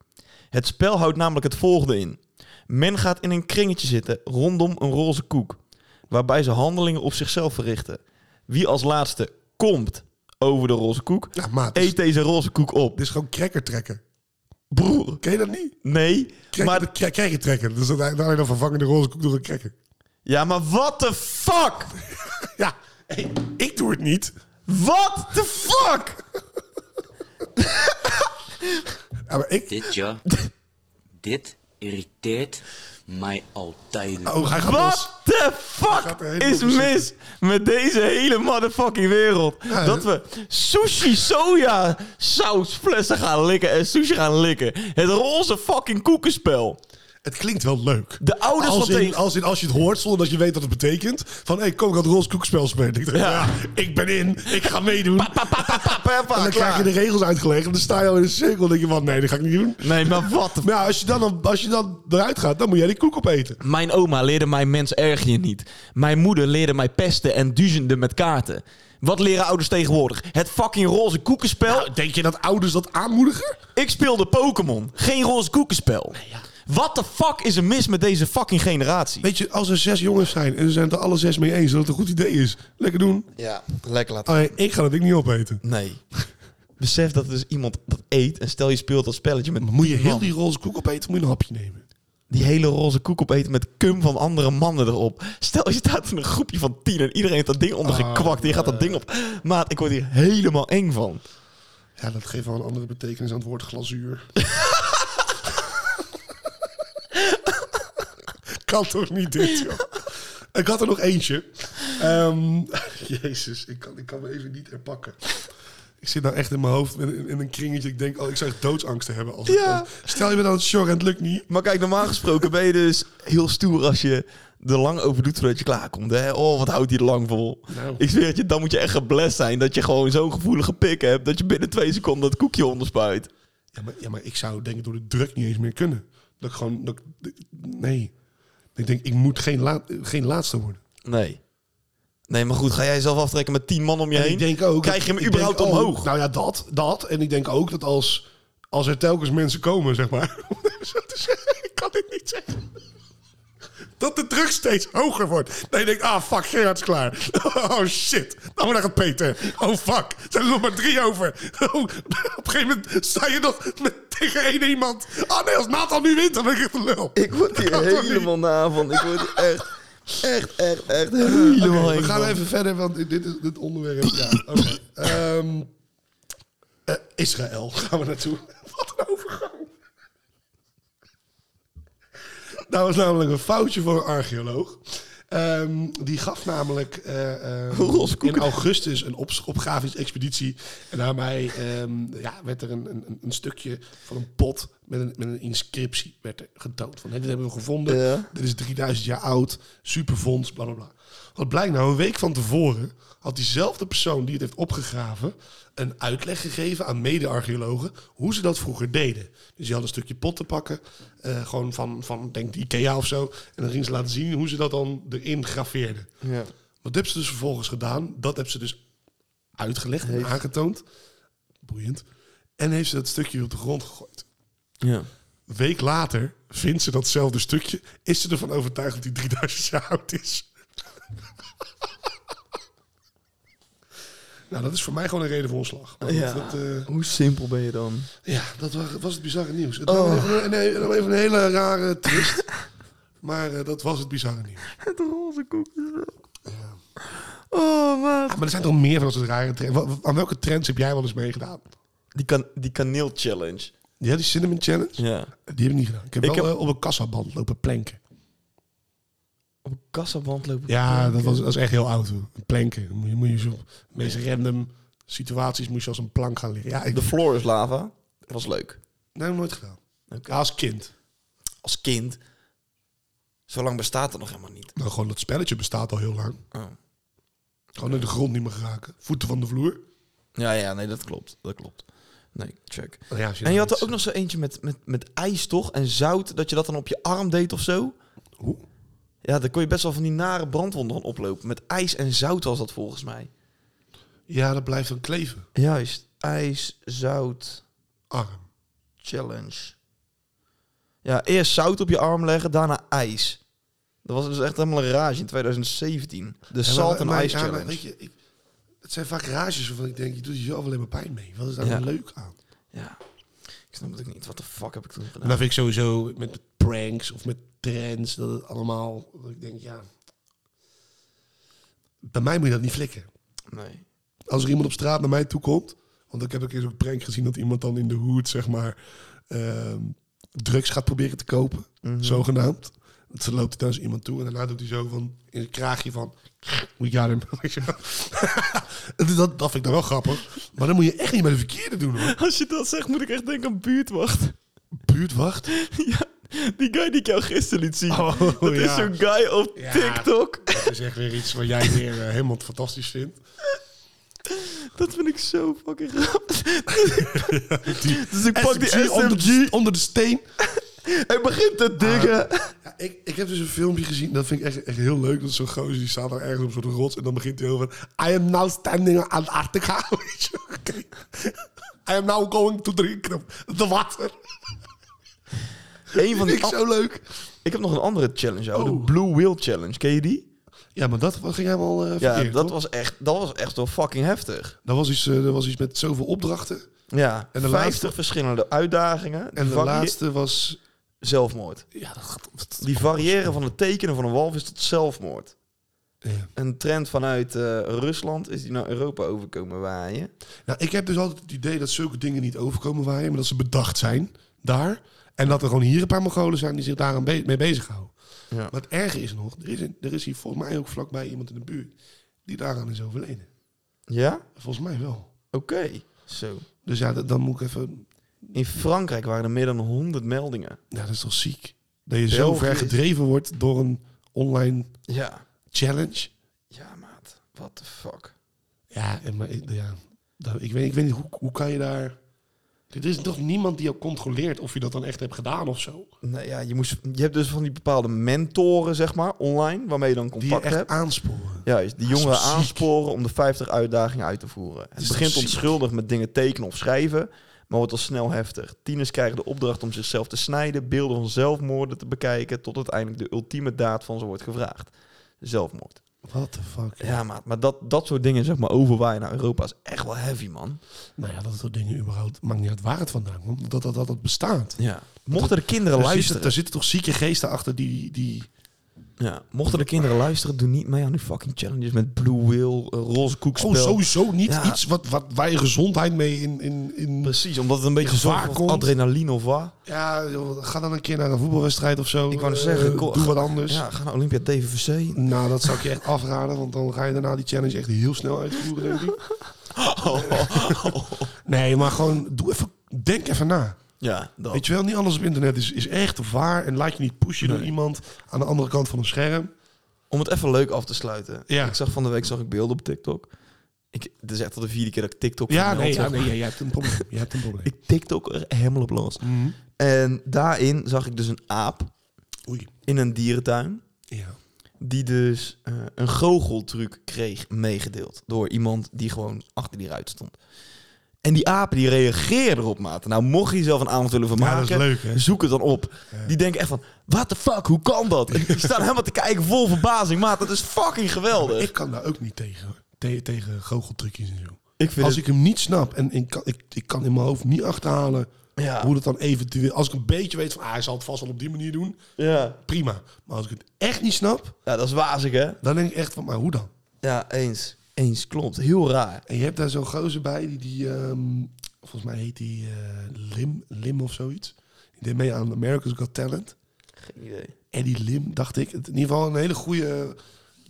B: Het spel houdt namelijk het volgende in. Men gaat in een kringetje zitten rondom een roze koek, waarbij ze handelingen op zichzelf verrichten. Wie als laatste komt over de roze koek,
C: Ja, maat. Dit is,
B: eet deze roze koek op.
C: dit is gewoon cracker trekken.
B: Broer,
C: Ken je dat niet?
B: nee.
C: Cracker,
B: Maar,
C: maar, cracker trekken. Dus daar dan vervangen de roze koek door een cracker. *laughs*
B: ja, maar what the fuck?
C: Ja, hey, ik doe het niet.
B: What the fuck?
C: Ja, maar ik...
G: Dit ja, dit irriteert mij altijd.
C: Oh, hij gaat los.
B: What the
C: gaat
B: fuck
C: er helemaal
B: is
C: voor zitten.
B: mis met deze hele motherfucking wereld?
C: Ja,
B: dat we sushi soja sausflessen gaan likken en sushi gaan likken. Het roze fucking koekenspel.
C: Het klinkt wel leuk.
B: De ouders
C: als
B: van
C: in,
B: tegen-
C: als, in, als je het hoort zonder dat je weet wat het betekent. Van, hé, hey, kom, ik had roze koekspel spelen. Ik, dacht,
B: Ja.
C: ja, ik ben in, ik ga meedoen.
B: Papa,
C: *laughs* en dan krijg je de regels uitgelegd. En dan sta je al in een cirkel en denk je, wat, nee, dat ga ik niet doen.
B: Nee, maar wat?
C: Maar ja, als je dan, als je dan eruit gaat, dan moet jij die koek opeten.
B: Mijn oma leerde mij mens erg je niet. Mijn moeder leerde mij pesten en duizenden met kaarten. Wat leren ouders tegenwoordig? Het fucking roze koekenspel.
C: Nou, Denk je dat ouders dat aanmoedigen?
B: Ik speelde Pokémon, geen roze koekenspel. Wat de fuck is er mis met deze fucking generatie?
C: Weet je, als er zes jongens zijn en ze zijn het er alle zes mee eens dat het een goed idee is. Lekker doen.
B: Ja, lekker laten.
C: Alleen, ik ga dat ding niet opeten.
B: Nee. *laughs* Besef dat er dus iemand dat eet en stel je speelt dat spelletje met
C: Maar moet je
B: man.
C: heel die roze koek opeten, moet je een hapje nemen.
B: die hele roze koek opeten met cum van andere mannen erop. Stel je staat in een groepje van tien en iedereen heeft dat ding ondergekwakt en je gaat
C: Ah.
B: dat ding op. Maat, ik word hier helemaal eng van.
C: Ja, dat geeft wel een andere betekenis aan het woord glazuur. kan toch niet dit, joh. Ik had er nog eentje. Ehm, *laughs* jezus, ik kan, ik kan me even niet herpakken. Ik zit nou echt in mijn hoofd in, in een kringetje. Ik denk, oh, ik zou echt doodsangst hebben. Als ik-
B: Ja.
C: stel je bent aan het sjorren en het lukt niet.
B: Maar kijk, normaal gesproken ben je dus heel stoer als je er lang over doet voordat je klaarkomt. Hè? Oh, wat houdt hij er lang vol.
C: Nou.
B: Ik zweer het je, dan moet je echt geblest zijn dat je gewoon zo'n gevoelige pik hebt dat je binnen twee seconden dat koekje onderspuit.
C: Ja maar, ja, maar ik zou denk ik door de druk niet eens meer kunnen. Dat ik gewoon... Dat, ik- nee. Ik denk, ik moet geen, laat, geen laatste worden.
B: Nee. Nee, maar goed, ga jij zelf aftrekken met tien man om je
C: En
B: heen?
C: ik denk ook.
B: Krijg je hem
C: ik
B: überhaupt
C: denk ook-
B: omhoog?
C: nou ja, dat, dat. En ik denk ook dat als, als er telkens mensen komen, zeg maar. *laughs* Om het zo te zeggen, ik kan dit niet zeggen. Dat de druk steeds hoger wordt. Dat je denkt, ah fuck, Gerard is klaar. *laughs* Oh shit, nou maar daar gaat *laughs* Peter. Oh fuck, er zijn er nog maar drie over. Oh, op een gegeven moment sta je nog met tegen één iemand. Ah nee, als Nathan nu wint, dan ben ik echt een lul.
B: Ik word *laughs* hier
C: Kan toch
B: helemaal na van. Ik word hier echt, echt, echt, echt *laughs* helemaal
C: Oké,
B: heen
C: we gaan
B: van.
C: even verder, want dit, is, dit onderwerp... Ja, oké. Ehm, eh, Israël *laughs* gaan we naartoe. Wat een overgang. Daar was namelijk een foutje voor een archeoloog. Ehm, die gaf namelijk eh, ehm,
B: Roze koeken.
C: in augustus een op opgravisch expeditie. En daarmee ehm, ja, werd er een, een, een stukje van een pot met een, met een inscriptie werd er getoond. Van, hé, dit hebben we gevonden.
B: Ja.
C: Dit is 3000 jaar oud. Supervonds, bla bla bla. Wat blijkt nou, een week van tevoren had diezelfde persoon die het heeft opgegraven... een uitleg gegeven aan mede-archeologen hoe ze dat vroeger deden. Dus die hadden een stukje pot te pakken, eh, gewoon van, van denk de Ikea of zo. En dan gingen ze laten zien hoe ze dat dan erin graveerden.
B: Ja.
C: Wat hebben ze dus vervolgens gedaan? Dat hebben ze dus uitgelegd en aangetoond. Boeiend. En heeft ze dat stukje op de grond gegooid.
B: Ja.
C: Een week later vindt ze datzelfde stukje. Is ze ervan overtuigd dat die 3000 jaar oud is? *laughs* nou, dat is voor mij gewoon een reden voor ontslag. Maar goed,
B: Ja.
C: dat, eh,
B: Hoe simpel ben je dan?
C: ja, dat wa- was het bizarre nieuws. Het
B: Oh.
C: was even, een, nee, dan even een hele rare twist. *laughs* maar eh, dat was het bizarre nieuws.
B: Het roze koekje. Oh, maat.
C: Ah, Maar er zijn toch meer van dat soort rare trends. Wa- wa- Aan welke trends heb jij wel eens meegedaan?
B: Die, kan, die kaneel-challenge.
C: Ja, die Cinnamon Challenge?
B: Ja.
C: Die heb ik niet gedaan. Ik heb
B: Ik
C: wel
B: heb-
C: eh, op een kassaband lopen planken.
B: Op een kassaband lopen.
C: Ja, dat was, dat was echt heel oud. hoor. Planken. Dan Moet je, moet je zo op de meest random situaties moest je als een plank gaan liggen. Ja, ik
B: De floor is lava. Dat was leuk.
C: nee, nooit gedaan.
B: Oké.
C: Ja, als kind.
B: Als kind. Zo lang bestaat dat nog helemaal niet.
C: Nou, gewoon dat spelletje bestaat al heel lang.
B: Oh.
C: Gewoon in de grond niet meer geraken. Voeten van de vloer.
B: Ja, ja, nee, dat klopt. Dat klopt. Nee, check.
C: Nou ja, als
B: En je
C: dan
B: had er
C: iets-
B: ook nog zo eentje met, met, met ijs, toch? En zout, dat je dat dan op je arm deed of zo?
C: Hoe?
B: Ja, dan kon je best wel van die nare brandwonden gaan oplopen. Met ijs en zout was dat volgens mij.
C: Ja, dat blijft dan kleven.
B: Juist. Ijs, zout,
C: Arm.
B: challenge. Ja, eerst zout op je arm leggen, daarna ijs. Dat was dus echt helemaal een rage in 2017. De
C: Ja,
B: Salt
C: maar-
B: en
C: maar-
B: Ice
C: ja, maar
B: Challenge.
C: weet je, ik, het zijn vaak rages waarvan ik denk, je doet jezelf alleen maar pijn mee. Wat is daar
B: Ja.
C: nou leuk aan?
B: Ja. Ik snap het ook niet. Wat de fuck heb ik toen
C: En
B: gedaan?
C: dan vind ik sowieso met pranks of met trends, dat het allemaal, dat ik denk, ja... Bij mij moet je dat niet flikken.
B: Nee.
C: Als er iemand op straat naar mij toe komt, want ik heb een keer zo'n prank gezien dat iemand dan in de hoed, zeg maar, ehm, drugs gaat proberen te kopen, zogenaamd. Dan loopt hij dan eens iemand toe en daarna doet hij zo van, in een kraagje van, we got him. *laughs* Weet je wel. Dus dat, dat vind ik dan wel grappig. Maar dan moet je echt niet met de verkeerde doen hoor.
B: Als je dat zegt, moet ik echt denken aan buurtwacht.
C: Buurtwacht.
B: *laughs* Ja, die guy die ik jou gisteren liet zien.
C: Oh,
B: dat
C: ja.
B: is zo'n guy op
C: Ja.
B: TikTok.
C: Dat is echt weer iets wat jij weer eh, helemaal fantastisch vindt.
B: Dat vind ik zo fucking
C: *laughs*
B: grappig. *laughs* dus ik pak die
C: SMG onder,
B: SMG
C: de- onder de steen.
B: en begint te diggen.
C: Ja, ik, ik heb dus een filmpje gezien, dat vind ik echt, echt heel leuk. Dat is zo'n gozer, die staat daar ergens op zo'n rots en dan begint hij over... I am now standing on Antarctica. *laughs* Weet je, oké. I am now going to drink the water.
B: *laughs* Eén van
C: Vind
B: die
C: ik
B: an-
C: zo leuk.
B: ik heb nog een andere challenge, ouwe.
C: Oh.
B: De Blue Wheel Challenge. Ken je die?
C: Ja, maar dat ging helemaal eh
B: Ja,
C: verkeerd,
B: dat,
C: toch?
B: was echt, dat was echt wel fucking heftig.
C: Dat was, iets, eh, dat was iets met zoveel opdrachten.
B: Ja,
C: En de
B: 50
C: laatste-
B: verschillende uitdagingen.
C: En de
B: Varie-
C: laatste was...
B: Zelfmoord.
C: Ja, dat gaat... dat-
B: Die variëren van het tekenen van een walvis tot zelfmoord.
C: Ja.
B: Een trend vanuit eh, Rusland is die naar Europa overkomen waaien.
C: Nou, ik heb dus altijd het idee dat zulke dingen niet overkomen waaien, maar dat ze bedacht zijn daar. En dat er gewoon hier een paar Mongolen zijn die zich daar aan be mee bezighouden.
B: Ja.
C: Maar het erge is nog, er is, er is hier volgens mij ook vlakbij iemand in de buurt die daaraan is overleden.
B: Ja?
C: Volgens mij wel.
B: Oké. Zo.
C: Dus ja, dat- dan moet ik even...
B: In Frankrijk waren er meer dan 100 meldingen.
C: Ja, dat is toch ziek? Dat je zo
B: België
C: ver
B: is-
C: gedreven wordt door een online
B: Ja.
C: challenge.
B: Ja, maat. What the fuck.
C: Ja, en maar, ik- ja dat, ik, weet, ik weet niet, hoe, hoe kan je daar... Er is toch niemand die jou controleert of je dat dan echt hebt gedaan of zo.
B: Nou ja, je, moest, je hebt dus van die bepaalde mentoren, zeg maar, online, waarmee je dan
C: Die je
B: contact
C: echt
B: hebt.
C: aansporen.
B: Juist, die
C: Dat is
B: jongeren
C: toch ziek?
B: aansporen om de 50 uitdagingen uit te voeren. Het
C: is
B: begint
C: toch ziek?
B: onschuldig met dingen tekenen of schrijven, maar wordt al snel heftig. Tieners krijgen de opdracht om zichzelf te snijden, beelden van zelfmoorden te bekijken, tot uiteindelijk de ultieme daad van ze wordt gevraagd. Zelfmoord.
C: What the fuck.
B: Ja, maat, maar dat, dat soort dingen, zeg maar, overwaaien naar Europa is echt wel heavy, man.
C: Nou ja, dat soort dingen überhaupt. Maakt niet uit waar het vandaan komt. Dat dat, dat, dat bestaat.
B: Ja. Mochten de kinderen
C: Daar zitten,
B: luisteren,
C: daar zitten toch zieke geesten achter die... die
B: ja, mochten de kinderen luisteren, doe niet mee aan die fucking challenges met Blue Whale, eh, roze koekspel.
C: oh, sowieso niet
B: Ja.
C: iets wat, wat waar je gezondheid mee in... in, in
B: Precies, omdat het een beetje
C: Gevaar
B: zorgt voor
C: komt.
B: adrenaline of wat.
C: ja, joh, ga dan een keer naar een voetbalwedstrijd of zo.
B: Ik wou net
C: Eh,
B: zeggen, ko-
C: doe wat anders.
B: Ja, ga naar Olympia DVVC.
C: Nou, dat zou ik je echt *laughs* afraden, want dan ga je daarna die challenge echt heel snel uitvoeren, denk
B: *laughs*
C: ik. Nee, maar gewoon doe even, denk even na.
B: Ja, dat.
C: Weet je wel, niet alles op internet is, is echt waar en laat je niet pushen door iemand aan de andere kant van een scherm.
B: Om het even leuk af te sluiten.
C: Ja.
B: Ik zag van de week zag ik beelden op TikTok. Ik, het is echt al de vierde keer dat ik TikTok
C: Ja,
B: vermeld
C: nee, ja,
B: heb.
C: nee, ja, jij hebt een probleem.
B: *laughs*
C: Jij hebt een probleem.
B: Ik Mhm. TikTok er helemaal op los. En daarin zag ik dus een aap
C: Oei.
B: in een dierentuin.
C: Ja.
B: Die dus eh, een goocheltruc kreeg meegedeeld. Door iemand die gewoon achter die ruit stond. En die apen die reageerden erop, maat. Nou, mocht je jezelf een avond willen
C: Ja,
B: vermaken,
C: dat is leuk, hè?
B: zoek het dan op. Die denken echt van, what the fuck, hoe kan dat? En die staan helemaal te kijken vol verbazing. Maat, dat is fucking geweldig.
C: Ik kan daar ook niet tegen, hoor. Te- tegen goocheltrucjes en zo.
B: Ik vind
C: Als
B: het-
C: ik hem niet snap en ik kan, ik, ik kan in mijn hoofd niet achterhalen
B: Ja.
C: hoe dat dan eventueel... Als ik een beetje weet van, ah, hij zal het vast wel op die manier doen,
B: Ja.
C: prima. Maar als ik het echt niet snap,
B: ja, dat is wazig, hè?
C: Dan denk ik echt van, maar hoe dan?
B: Ja, eens. Eens, klopt. Heel raar.
C: En je hebt daar zo'n gozer bij, die, die ehm, volgens mij heet die eh, Lim, Lim of zoiets. Die deed mee aan America's Got Talent.
B: Geen idee.
C: En die Lim, dacht ik, in ieder geval een hele goede...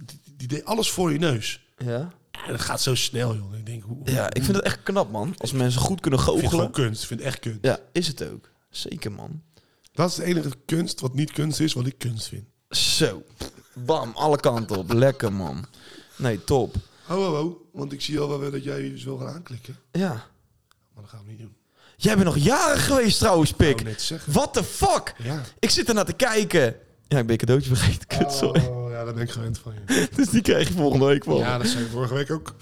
C: Die, die deed alles voor je neus.
B: Ja?
C: En dat gaat zo snel, joh. Ik denk, hoe, hoe-
B: Ja, ik vind het echt knap, man. Als mensen goed kunnen
C: ik vind het gewoon
B: goochelen.
C: kunst. Ik vind het echt kunst.
B: Ja, is het ook. Zeker, man.
C: Dat is de enige kunst wat niet kunst is, wat ik kunst vind.
B: Zo. Bam, alle kanten op. Lekker, man. Nee, top.
C: Ho, ho, ho. Want ik zie al wel weer dat jij iets wil gaan aanklikken.
B: Ja.
C: Maar dat gaan we niet doen.
B: Jij bent nog jarig geweest trouwens,
C: Ik
B: Pik.
C: wou net zeggen.
B: What the fuck?
C: Ja.
B: Ik zit ernaar te kijken. Ja, ik ben je cadeautje vergeten. Kut, sorry.
C: Oh, ja, daar ben ik gewend van je.
B: *laughs* Dus die krijg je volgende week wel.
C: Oh. Ja, dat zei je vorige week ook.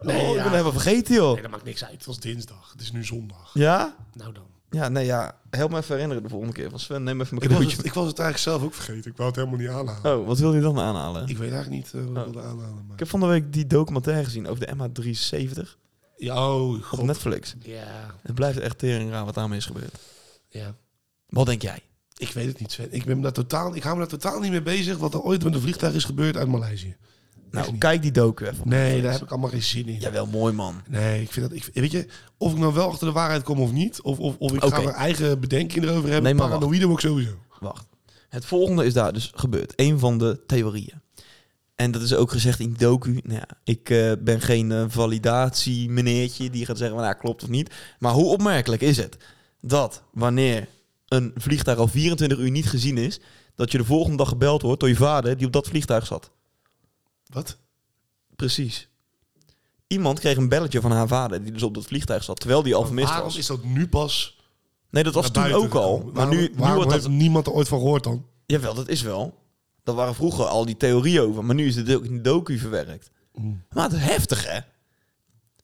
B: nee, oh, ik ben helemaal vergeten, joh.
C: Nee, dat maakt niks uit. Het was dinsdag. Het is nu zondag.
B: Ja?
C: Nou dan.
B: Ja, nee, ja. Help me even herinneren de volgende keer. Van Sven, neem even mijn
C: Ik was,
B: cadeautje.
C: het, ik was het eigenlijk zelf ook vergeten. Ik wou het helemaal niet aanhalen.
B: Oh, wat wil je dan aanhalen?
C: Ik weet eigenlijk niet eh, wat ik wilde aanhalen. Maar...
B: Ik heb van de week die documentaire gezien over de MH370
C: Ja, oh,
B: op
C: god.
B: Netflix.
D: Ja,
B: Het blijft echt tering raar wat daarmee is gebeurd.
D: ja.
B: Wat denk jij?
C: Ik weet het niet, Sven. Ik, ben me daar totaal, ik hou me daar totaal niet mee bezig wat er ooit met een vliegtuig is gebeurd uit Maleisië.
B: Nou,
C: niet.
B: kijk die docu even. op
C: Nee,
B: Netflix.
C: daar heb ik allemaal geen zin in.
B: Jawel, mooi man.
C: Nee, ik vind dat... Ik, weet je, of ik nou wel achter de waarheid kom of niet, of, of, of ik
B: Oké.
C: ga mijn eigen bedenkingen erover
B: Nee,
C: hebben,
B: maar wacht.
C: paranoïde word ik sowieso.
B: Wacht. Het volgende is daar dus gebeurd. Een van de theorieën. En dat is ook gezegd in die docu. Nou ja, ik eh, ben geen eh, validatie meneertje die gaat zeggen, van, nou klopt of niet. Maar hoe opmerkelijk is het dat wanneer een vliegtuig al 24 uur niet gezien is, dat je de volgende dag gebeld wordt door je vader die op dat vliegtuig zat.
C: Wat?
B: Precies. Iemand kreeg een belletje van haar vader, die dus op dat vliegtuig zat, terwijl die al vermist
C: Waarom
B: was.
C: is dat nu pas
B: Nee, dat was
C: naar
B: toen ook
C: buiten
B: al.
C: gekomen?
B: Maar nu,
C: Waarom-
B: nu
C: waarom
B: wordt dat...
C: heeft niemand er ooit van gehoord dan?
B: Jawel, dat is wel. Dat waren vroeger al die theorieën over, maar nu is het ook in de docu verwerkt.
C: Mm.
B: Maar het is heftig, hè?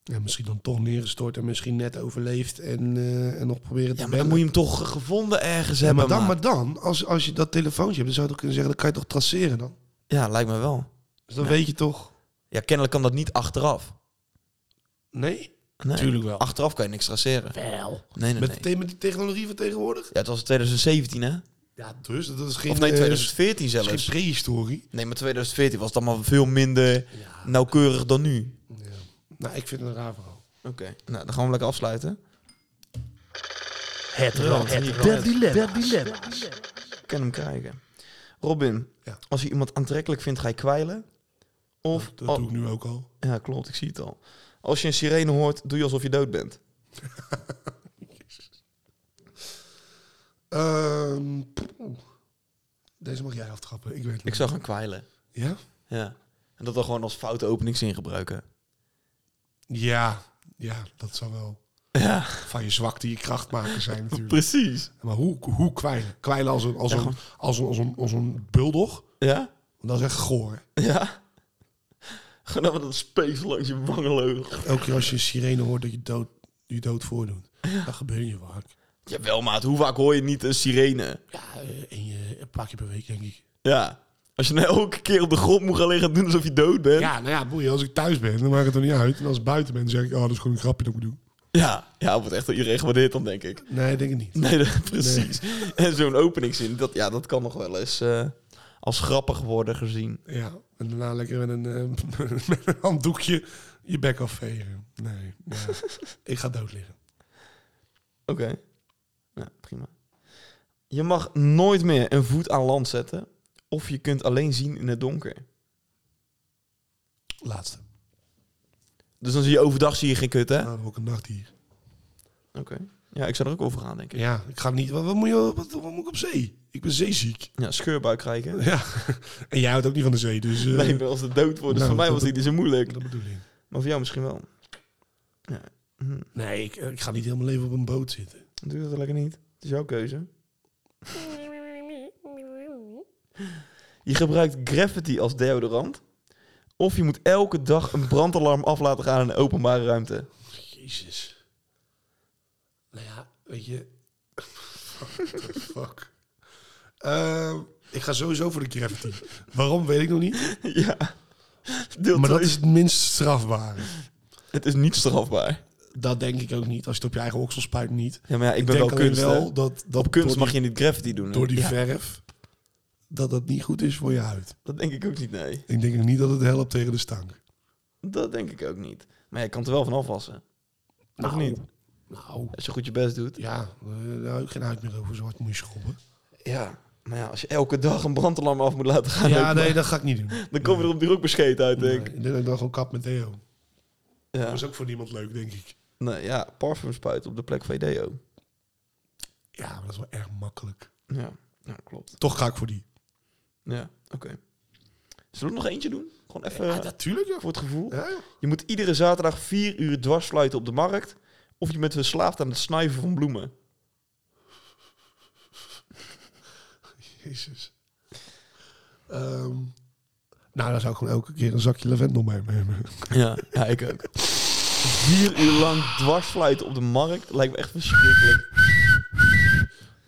C: Ja, misschien dan toch neergestort en misschien net overleefd en, eh, en nog proberen te
B: Ja, maar dan
C: bellen.
B: moet je hem toch gevonden ergens
C: Ja,
B: hebben.
C: maar dan, maar dan als, als je dat telefoontje hebt, dan zou je toch kunnen zeggen, dan kan je toch traceren dan?
B: Ja, lijkt me wel.
C: Dus dan weet je toch...
B: Ja, kennelijk kan dat niet achteraf.
C: Nee?
B: Nee.
C: Tuurlijk wel.
B: Achteraf kan je niks traceren.
D: Wel.
B: Nee, nee,
C: Met,
B: nee.
C: de, met die technologie van tegenwoordig?
B: Ja, het was 2017, hè?
C: Ja, dus dat is geen...
B: Of nee,
C: eh,
B: 2014
C: dat is
B: zelfs.
C: geen prehistorie.
B: Nee, maar 2014 was het allemaal veel minder nauwkeurig dan nu.
C: Nou, ik vind het een raar verhaal.
B: Oké, nou, dan gaan we lekker afsluiten.
D: Het rad. Het
B: Der Ik kan hem krijgen. Robin,
C: Ja.
B: als je iemand aantrekkelijk vindt, ga je kwijlen? Of,
C: Dat doe ik nu ook al.
B: Ja, klopt, ik zie het al. Als je een sirene hoort, doe je alsof je dood bent.
C: Ehm, poeh. deze mag jij aftrappen, ik weet het
B: Ik
C: niet.
B: zou gaan Mhm. kwijlen.
C: Ja?
B: Ja. En dat dan gewoon als foute openingszin gebruiken.
C: Ja. Ja, dat zou wel
B: Ja,
C: van je zwakte je kracht maken zijn
B: Mhm.
C: natuurlijk.
B: precies.
C: Maar hoe, hoe kwijlen? Kwijlen als een, als een, als een, als een, als een buldog?
B: Ja?
C: Dat is echt goor.
B: Ja? *laughs* Gewoon met dat space langs je wangenleugen.
C: Elke keer als je een sirene hoort dat je dood, je dood voordoet. Dat gebeurt je vaak.
B: Jawel, maat. Hoe vaak hoor je niet een sirene?
C: Ja, eh, één, eh, een paar keer per week, denk ik.
B: Ja. Als je nou elke keer op de grond moet gaan liggen doen alsof je dood bent.
C: Ja, nou ja, boeien. Als ik thuis ben, dan maakt het er niet uit. En als ik buiten ben, dan zeg ik, oh, dat is gewoon een grapje dat ik doe.
B: ja, ja wordt echt door iedereen gewaardeerd dan, denk ik.
C: Nee, denk ik niet.
B: Nee, dat- *laughs* precies. En zo'n openingszin, dat, ja, dat kan nog wel eens eh, als grappig worden gezien.
C: Ja, en daarna lekker met een, eh, *laughs* met een handdoekje je bek afvegen. Nee, *laughs* ja. ik ga dood liggen.
B: Oké. Ja, prima. Je mag nooit meer een voet aan land zetten. Of je kunt alleen zien in het donker.
C: Laatste.
B: Dus dan zie je overdag zie je geen kut, hè? Oké.
C: Nou, dan ook een nacht hier.
B: Ja, ik zou er ook over gaan, denk ik.
C: Ja, ik ga niet... Wat, wat moet, je, wat, wat moet ik op zee? Ik ben zeeziek.
B: Ja, scheurbuik krijgen.
C: *laughs* Ja, en jij houdt ook niet van de zee, dus... eh,
B: Nee, maar als het dood wordt, dus
C: Nou,
B: voor mij
C: dat-
B: was die niet zo moeilijk.
C: Dat bedoel ik.
B: Maar voor jou misschien wel.
C: Nee, ik, ik ga niet helemaal leven op een boot zitten.
B: Dan doe je dat lekker niet. Het is jouw keuze. Je gebruikt graffiti als deodorant. Of je moet elke dag een brandalarm af laten gaan in een openbare ruimte. *laughs*
C: Jezus. Nou ja, weet je... What the fuck? Ehm, ik ga sowieso voor de graffiti. Waarom, weet ik nog niet.
B: ja. Deel
C: Maar dat
B: twee.
C: is het minst strafbare.
B: Het is niet strafbaar.
C: Dat denk ik ook niet. Als je het op je eigen oksel spuit, niet.
B: Ja, maar ja, ik, ben
C: denk
B: wel
C: alleen
B: kunst.
C: wel
B: Wel
C: dat, dat
B: Op kunst
C: door
B: mag
C: die,
B: je niet graffiti doen. hè?
C: door die
B: Ja,
C: verf dat dat niet goed is voor je huid.
B: dat denk ik ook niet, nee.
C: Ik denk ook niet dat het helpt tegen de stank.
B: Dat denk ik ook niet. Maar je kan het er wel van afwassen. Of
C: Nou.
B: niet?
C: Nou,
B: Als je goed je best doet.
C: ja, eh, daar heb ik geen huid meer over. Zo hard moet je
B: *laughs*
C: schrobben.
B: Ja, maar ja, als je elke dag een brandalarm af moet laten gaan,
C: Ja,
B: dan-
C: nee, dat ga ik niet doen. Nee,
B: dan kom je er op die rookbescheet uit, denk ik.
C: ik denk dat ik dan gewoon kap met Theo.
B: Ja.
C: Dat is ook voor niemand leuk, denk ik.
B: Nee, ja, parfum spuiten op de plek VDO.
C: Ja, maar dat is wel erg makkelijk.
B: Ja, ja klopt.
C: Toch ga ik voor die.
B: Ja, oké. Zullen we er nog eentje doen? Gewoon even eh,
C: natuurlijk. Ja.
B: voor het gevoel.
C: Ja, ja.
B: Je moet iedere zaterdag vier uur dwarsfluiten op de markt. Of je bent verslaafd aan het snuiven van bloemen.
C: Jezus. Ehm, nou, dan zou ik gewoon elke keer een zakje lavendel meenemen.
B: Ja, ja ik ook. Vier uur lang dwarsfluiten op de markt lijkt me echt verschrikkelijk.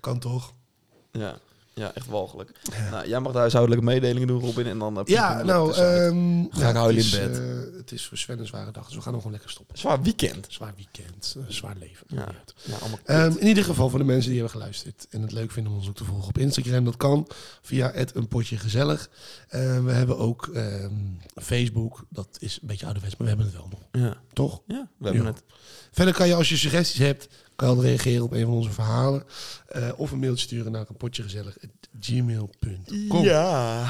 C: Kan toch?
B: Ja, ja echt walgelijk. Nou, jij mag de huishoudelijke mededelingen doen, Robin. En dan eh,
C: Ja,
B: pikken we
C: nou,
B: ertussen uit.
C: ehm
B: Ga ik
C: ja,
B: huilen
C: het
B: in
C: is,
B: bed.
C: eh, het is voor Sven een zware dag, dus we gaan hem gewoon lekker stoppen.
B: Zwaar weekend.
C: Zwaar weekend, eh, zwaar leven.
B: Ja,
C: Niet uit.
B: ja allemaal
C: Ehm, in ieder geval voor de mensen die hebben geluisterd en het leuk vinden om ons ook te volgen op Instagram. Dat kan via het een potje gezellig. Eh, we hebben ook ehm, Facebook. Dat is een beetje ouderwets, maar we hebben het wel nog.
B: Ja,
C: Toch?
B: ja we hebben
C: Ja.
B: het.
C: Verder kan je als je suggesties hebt, kan je altijd reageren op een van onze verhalen. eh, of een mailtje sturen naar een potje gezellig gmail.com.
B: Ja.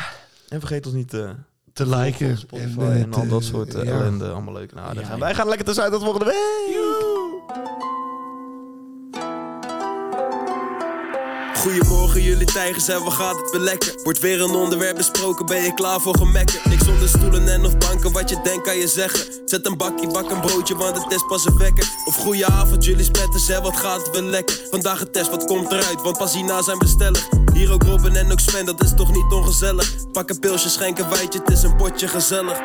B: En vergeet ons niet te
C: Te liken
B: volgen op Spotify en,
C: eh,
B: al
C: te-
B: dat soort eh,
C: ja.
B: ellende. Allemaal leuk en aardig.
C: Ja,
B: en
C: ja.
B: wij gaan lekker tussenuit tot volgende week.
A: Goedemorgen jullie tijgers en wat gaat het weer lekker? Wordt weer een onderwerp besproken, ben je klaar voor gemekken? Niks onder stoelen en of banken, wat je denkt kan je zeggen. Zet een bakje, bak een broodje, want het is pas een wekker. Of goeie avond jullie spetters en wat gaat het weer lekker? Vandaag een test, wat komt eruit? Want pas hierna zijn bestellig. Hier ook Robin en ook Sven, dat is toch niet ongezellig? Pak een pilsje, schenk een wijtje, het is een potje gezellig.